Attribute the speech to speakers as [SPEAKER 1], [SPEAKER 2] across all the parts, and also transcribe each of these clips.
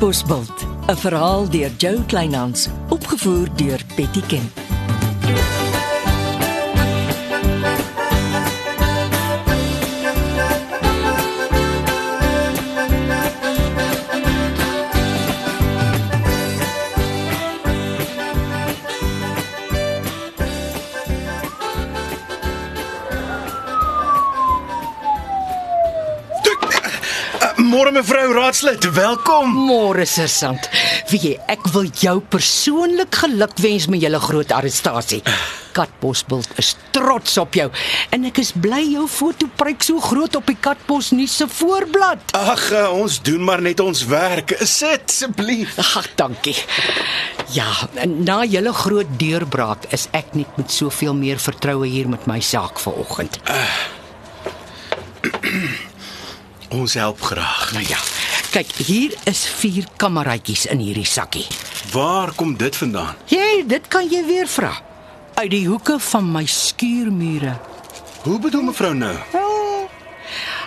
[SPEAKER 1] Bosbult, 'n verhaal deur Jo Kleinhans, opgevoer deur Betty Ken.
[SPEAKER 2] Eh, Môre mevrou Raadslid, welkom.
[SPEAKER 3] Môre sergeant. Wie jy, ek wil jou persoonlik gelukwens met julle groot arrestasie. Kat Bosbult is trots op jou en ek is bly jou foto pryk so groot op die Katbos nuus se voorblad.
[SPEAKER 2] Ag, eh, ons doen maar net ons werk. Sit asseblief.
[SPEAKER 3] Ag, dankie. Ja, na julle groot deurbraak is ek net met soveel meer vertroue hier met my saak vanoggend.
[SPEAKER 2] Ons help graag.
[SPEAKER 3] Nou ja, kyk, hier is vier kameraitjies in hierdie sakkie.
[SPEAKER 2] Waar kom dit vandaan?
[SPEAKER 3] Jy, dit kan jy weer vra. Uit die hoeke van my skuurmure.
[SPEAKER 2] Hoe bedoel mevrou nou?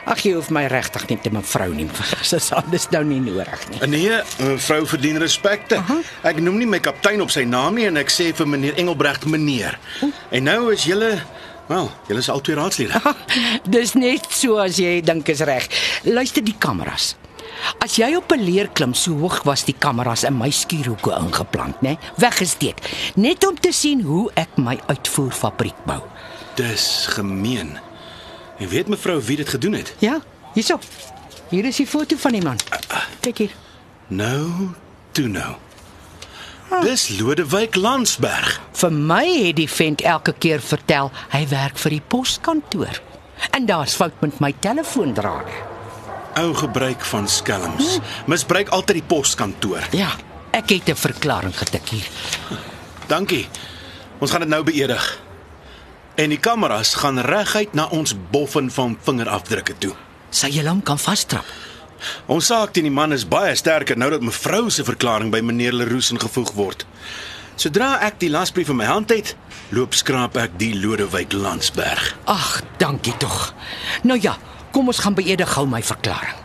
[SPEAKER 3] Ag jy hoef my regtig nie te mevrou nie. Dis anders nou nie nodig nie.
[SPEAKER 2] Eh, Nee, mevrou verdien respek. Ek noem nie my kaptein op sy naam nie en ek sê vir meneer Engelbregt meneer. En nou is julle, wel, julle is albei raadslede.
[SPEAKER 3] Dis net so as jy dink is reg. Luister die kameras. As jy op 'n leer klim, so hoog was die kameras in my skuurhoeke ingeplant, né? Weggesteek, net om te sien hoe ek my uitvoerfabriek bou.
[SPEAKER 2] Dis gemeen. En weet mevrou wie dit gedoen het?
[SPEAKER 3] Ja, hierso. Hier is die foto van die man. Kyk hier.
[SPEAKER 2] Nou, toe nou. Dis Lodewyk Landsberg.
[SPEAKER 3] Vir my het die vent elke keer vertel hy werk vir die poskantoor. En daar's fout met my telefoondrade.
[SPEAKER 2] Ou gebruik van skelms. Misbruik altyd die poskantoor.
[SPEAKER 3] Ja, ek het 'n verklaring getik hier.
[SPEAKER 2] Dankie. Ons gaan dit nou beëdig. En die kameras gaan reguit na ons boffin van vingerafdrukke toe.
[SPEAKER 3] Sy jy hom kan vastrap.
[SPEAKER 2] Ons saak teen die man is baie sterker nou dat mevrou se verklaring by meneer Leroux ingevoeg word. Sodra ek die lasbrief in my hand het, loop skraap ek die Lodewyk Landsberg.
[SPEAKER 3] Ag, dankie tog. Nou ja, kom ons gaan beëdig gou my verklaring.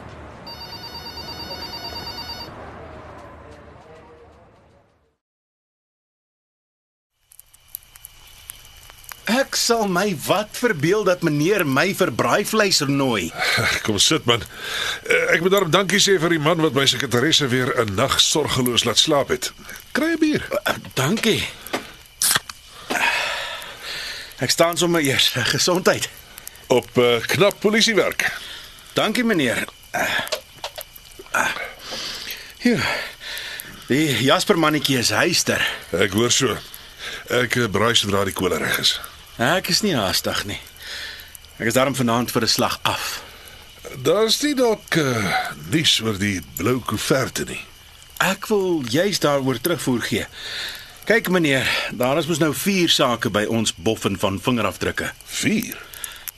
[SPEAKER 2] Ek sal my wat verbeel dat meneer my vir braaivleis nooi.
[SPEAKER 4] Kom sit man. Eh, Ek moet daarom dankie sê vir die man wat my sekretaresse weer 'n nag sorgeloos laat slaap het. Kry 'n bier.
[SPEAKER 2] Eh, Dankie. Ek staan sommer eers. Gesondheid.
[SPEAKER 4] Op eh, knap polisiewerk.
[SPEAKER 2] Dankie meneer. Uh, hier. Ja, Die Jasper mannetjie is huister.
[SPEAKER 4] Ek hoor so. Ek eh, braai sodra die kolle reg is.
[SPEAKER 2] Ek is nie haastig nie. Ek is daarom vanaand vir 'n slag af.
[SPEAKER 4] Daar's nie dalk uh, nuus oor die blou koeverte nie.
[SPEAKER 2] Ek wil juis daaroor terugvoer gee. Kyk meneer, daar is mos nou vier sake by ons boffin van vingerafdrukke.
[SPEAKER 4] 4.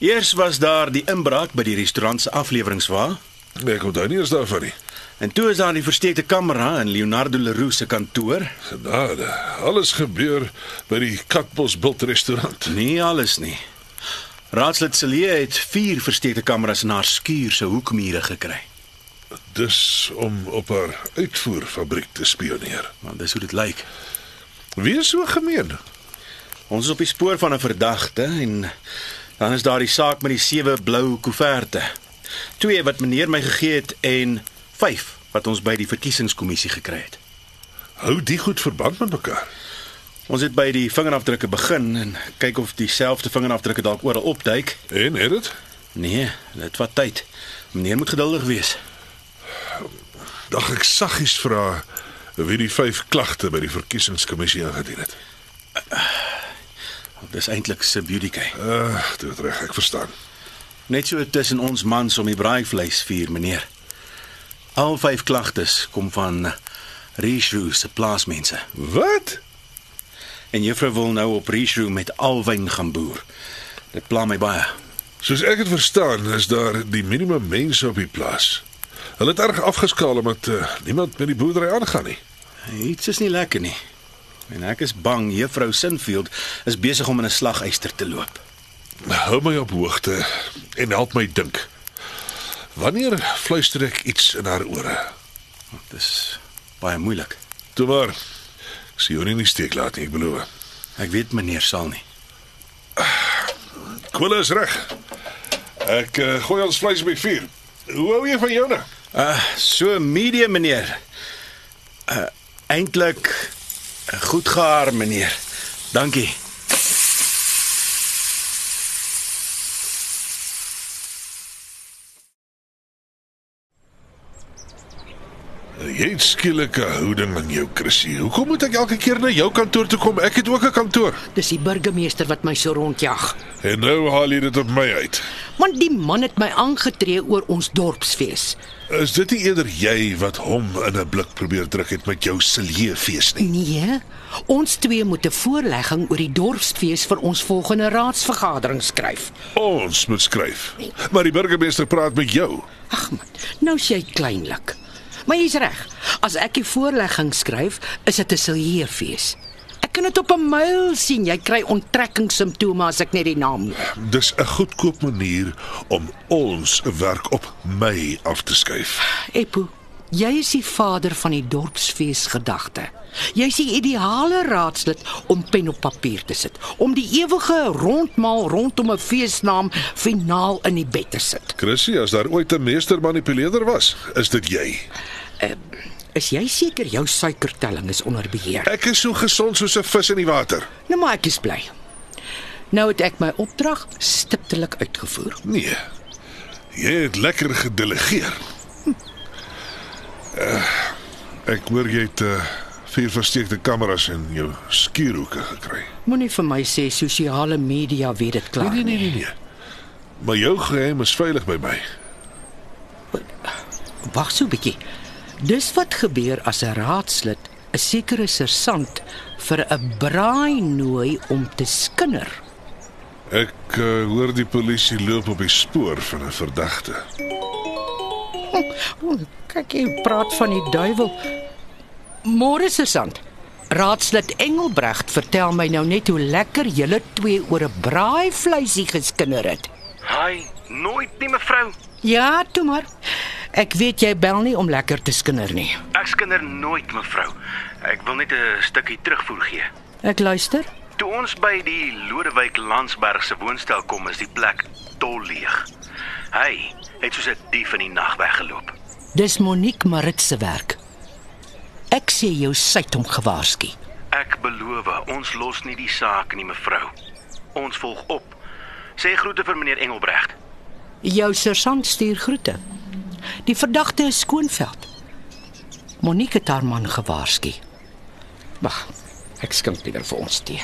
[SPEAKER 2] Eers was daar die inbraak by die restaurant se afleweringswa
[SPEAKER 4] Nee, ek onthou nie eens daarvan nie.
[SPEAKER 2] en toe is daar die versteekte kamera in Leonardo Leroux se kantoor.
[SPEAKER 4] Genade. Alles gebeur by die Katbos Bult restaurant.
[SPEAKER 2] Nee, alles nie. Raadslid Celia het vier versteekte kameras in haar skuur se hoekmure gekry.
[SPEAKER 4] Dis om op haar uitvoerfabriek te spioneer.
[SPEAKER 2] Want dis hoe dit lyk.
[SPEAKER 4] Wie is so gemeen?
[SPEAKER 2] Ons is op die spoor van 'n verdagte en dan is daar die saak met die sewe blou koeverte. Twee wat meneer my gegee het en vyf wat ons by die verkiesingskommissie gekry het.
[SPEAKER 4] Hou die goed verband met mekaar.
[SPEAKER 2] Ons het by die vingerafdrukke begin en kyk of dieselfde vingerafdrukke dalk oral opduik.
[SPEAKER 4] En het dit?
[SPEAKER 2] Nee, dit vat tyd. Meneer moet geduldig wees.
[SPEAKER 4] Dag ek saggies vra wie die vyf klagte by die verkiesingskommissie ingedien het.
[SPEAKER 2] Dis eintlik se beautyke.
[SPEAKER 4] Ag, Ah, dit is reg, ek verstaan.
[SPEAKER 2] Net so tussen ons mans om die braaivleis vier, meneer. Al vyf klagtes kom van Richroo se plaasmense.
[SPEAKER 4] Wat?
[SPEAKER 2] En juffrou wil nou op Richroo met alwyn gaan boer. Dit pla my baie.
[SPEAKER 4] Soos ek dit verstaan, is daar die minimum mense op die plaas. Hulle het erg afgeskaal omdat uh, niemand met die boerdery aangaan nie.
[SPEAKER 2] Iets is nie lekker nie. En ek is bang juffrou Sinfield is besig om in 'n slaguister te loop.
[SPEAKER 4] Hou my op hoogte en help my dink. Wanneer fluister ek iets in haar ore?
[SPEAKER 2] Dit is baie moeilik.
[SPEAKER 4] Toe maar. Ek sien jou nie in die steek laat nie, ek beloof.
[SPEAKER 2] Ek weet meneer sal nie.
[SPEAKER 4] Kwille is reg. Ek uh, gooi ons vleis by vuur. Hoe hou jy van joune?
[SPEAKER 2] Uh so medium meneer. Uh eintlik uh, goed gehaar meneer. Dankie.
[SPEAKER 4] Jy het skielike houding in jou krissie. Hoekom moet ek elke keer na jou kantoor toe kom? Ek het ook 'n kantoor.
[SPEAKER 3] Dis die burgemeester wat my so rondjag.
[SPEAKER 4] En nou haal jy dit op my uit.
[SPEAKER 3] Want die man het my aangetree oor ons dorpsfees.
[SPEAKER 4] Is dit nie eerder jy wat hom in 'n blik probeer druk het met jou siljeefees nie?
[SPEAKER 3] Nee, ons twee moet 'n voorlegging oor die dorpsfees vir ons volgende raadsvergadering skryf.
[SPEAKER 4] Ons moet skryf. Maar die burgemeester praat met jou.
[SPEAKER 3] Ag man, nou sê jy kleinlik. Maar jy's reg. As ek die voorlegging skryf, is dit 'n siljeefees. Ek kan dit op 'n myl sien. Jy kry onttrekkingssimptome as ek net die naam noem.
[SPEAKER 4] Dis 'n goedkoop manier om ons werk op my af te skuif.
[SPEAKER 3] Eppo, jy is die vader van die dorpsfees gedagte. Jy's die ideale raadslid om pen op papier te sit, om die ewige rondmaal rondom 'n feesnaam finaal in die bed te sit.
[SPEAKER 4] Krissie, as daar ooit 'n meestermanipuleerder was, is dit jy.
[SPEAKER 3] Is jy seker jou suikertelling is onder beheer?
[SPEAKER 4] Ek is so gesond soos 'n vis in die water.
[SPEAKER 3] Nou maar ek is bly. Nou het ek my opdrag stiptelik uitgevoer.
[SPEAKER 4] Nee. Jy het lekker gedelegeer. Uh, ek hoor jy het uh, vier versteekte kameras in jou skuurhoeke gekry.
[SPEAKER 3] Moenie vir my sê sosiale media weet dit klaar.
[SPEAKER 4] Nee, nee, nee, nee, nee. Maar jou geheim is veilig by my. nee.
[SPEAKER 3] Wag so 'n bietjie. Dis wat gebeur as 'n raadslid 'n sekere sersant vir 'n braai nooi om te skinder.
[SPEAKER 4] Ek uh, hoor die polisie loop op die spoor van 'n verdagte.
[SPEAKER 3] O, kyk jy praat van die duiwel. Môre sersant. Raadslid Engelbregt vertel my nou net hoe lekker julle twee oor 'n braai vleisie geskinder het.
[SPEAKER 5] Hy nooit nie mevrou.
[SPEAKER 3] Ja, toe maar. Ek weet jy bel nie om lekker te skinder nie.
[SPEAKER 5] Ek skinder nooit mevrou. Ek wil net 'n stukkie terugvoer gee.
[SPEAKER 3] Ek luister.
[SPEAKER 5] Toe ons by die Lodewyk Landsberg se woonstel kom, is die plek dol leeg. Hy het soos 'n dief in die nag weggeloop.
[SPEAKER 3] Dis Monique Marit se werk. Ek sê jou sy het hom gewaarsku.
[SPEAKER 5] Ek beloof, ons los nie die saak nie mevrou. Ons volg op. Sê groete vir meneer Engelbregt.
[SPEAKER 3] Jou sersant stuur groete. Die verdagte is Skoonveld. Monique het haar man gewaarsku. Wag, ek skink liewer vir ons tee.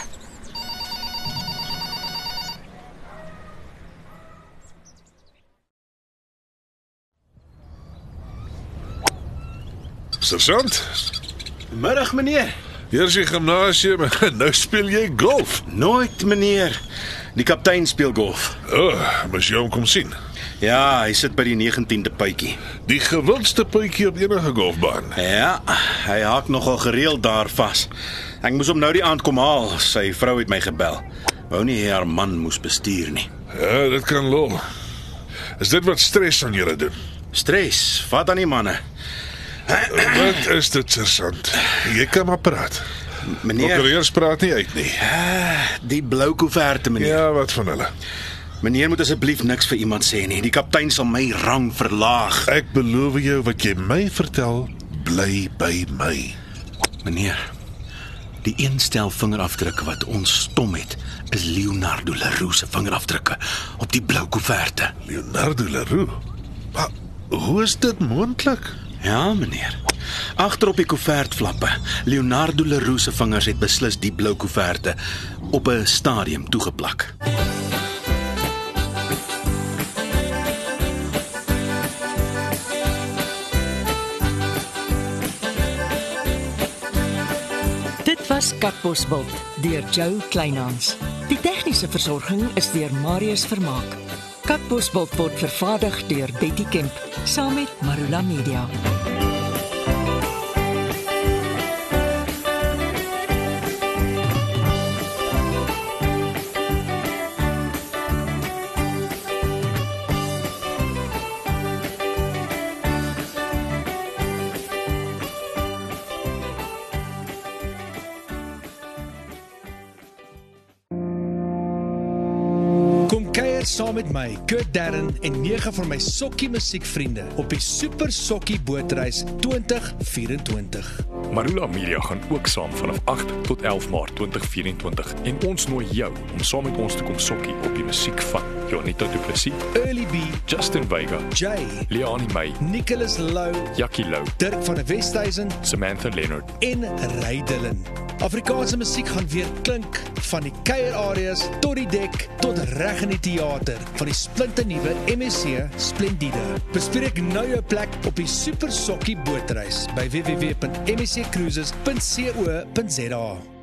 [SPEAKER 4] Sergeant,
[SPEAKER 2] Middag meneer.
[SPEAKER 4] hier's die gimnasium en nou speel jy golf.
[SPEAKER 2] Nooit meneer. Die kaptein speel golf.
[SPEAKER 4] O, oh, mos jy hom kom sien.
[SPEAKER 2] Ja, hy sit by die 19de puitjie.
[SPEAKER 4] Die gewildste puitjie op enige golfbaan.
[SPEAKER 2] Ja, hy haak nogal gereeld daar vas. Ek moes hom nou die aand kom haal. Sy vrou het my gebel. Wou nie hê haar man moes bestuur nie.
[SPEAKER 4] Ja, dit kan lol. Is dit wat stres aan julle doen?
[SPEAKER 2] Stres, vat aan die manne.
[SPEAKER 4] Wat is dit, sergeant? Jy kan maar praat.
[SPEAKER 2] Meneer, eh,
[SPEAKER 4] Prokureurs praat nie uit nie.
[SPEAKER 2] die blou koeverte meneer.
[SPEAKER 4] Ja, wat van hulle?
[SPEAKER 2] Meneer moet asseblief niks vir iemand sê nie. Die kaptein sal my rang verlaag.
[SPEAKER 4] Ek beloof jou wat jy my vertel, bly by my.
[SPEAKER 2] Meneer, die een stel vingerafdrukke wat ons stom het, is Leonardo Leroux se vingerafdrukke op die blou koeverte.
[SPEAKER 4] Leonardo Leroux. Maar hoe is dit moontlik?
[SPEAKER 2] Ja, meneer. Agter op die koevertflappe, Leonardo Leroux se vingers het beslis die blou koeverte op 'n stadium toegeplak.
[SPEAKER 1] Dit was Katbosveld deur Jo Kleinhans. Die tegniese versorging is deur Marius Vermaak. Katbosveld word vervaardig deur Betty Kemp saam met Marula Media.
[SPEAKER 6] kuier saam met my, Kurt Darren en nege van my sokkie musiekvriende op die Super Sokkie Bootreis 2024.
[SPEAKER 7] Marula Media gaan ook saam vanaf 8 tot 11 Maart 2024 en ons nooi jou om saam met ons te kom sokkie op die musiek van Jonita Du Plessis,
[SPEAKER 6] Early B,
[SPEAKER 7] Justin Vega,
[SPEAKER 6] Jay,
[SPEAKER 7] Leoni May,
[SPEAKER 6] Nicholas Lou,
[SPEAKER 7] Jackie Lou,
[SPEAKER 6] Dirk van der Westhuizen
[SPEAKER 7] Samantha Leonard.
[SPEAKER 6] en Ray Dillon. Afrikaanse musiek gaan weer klink van die kuierareas tot die dek tot reg in die teater van die splinternuwe MSC Splendide. Bespreek nou jou plek op die Super Sokkie bootreis by www.msccruises.co.za.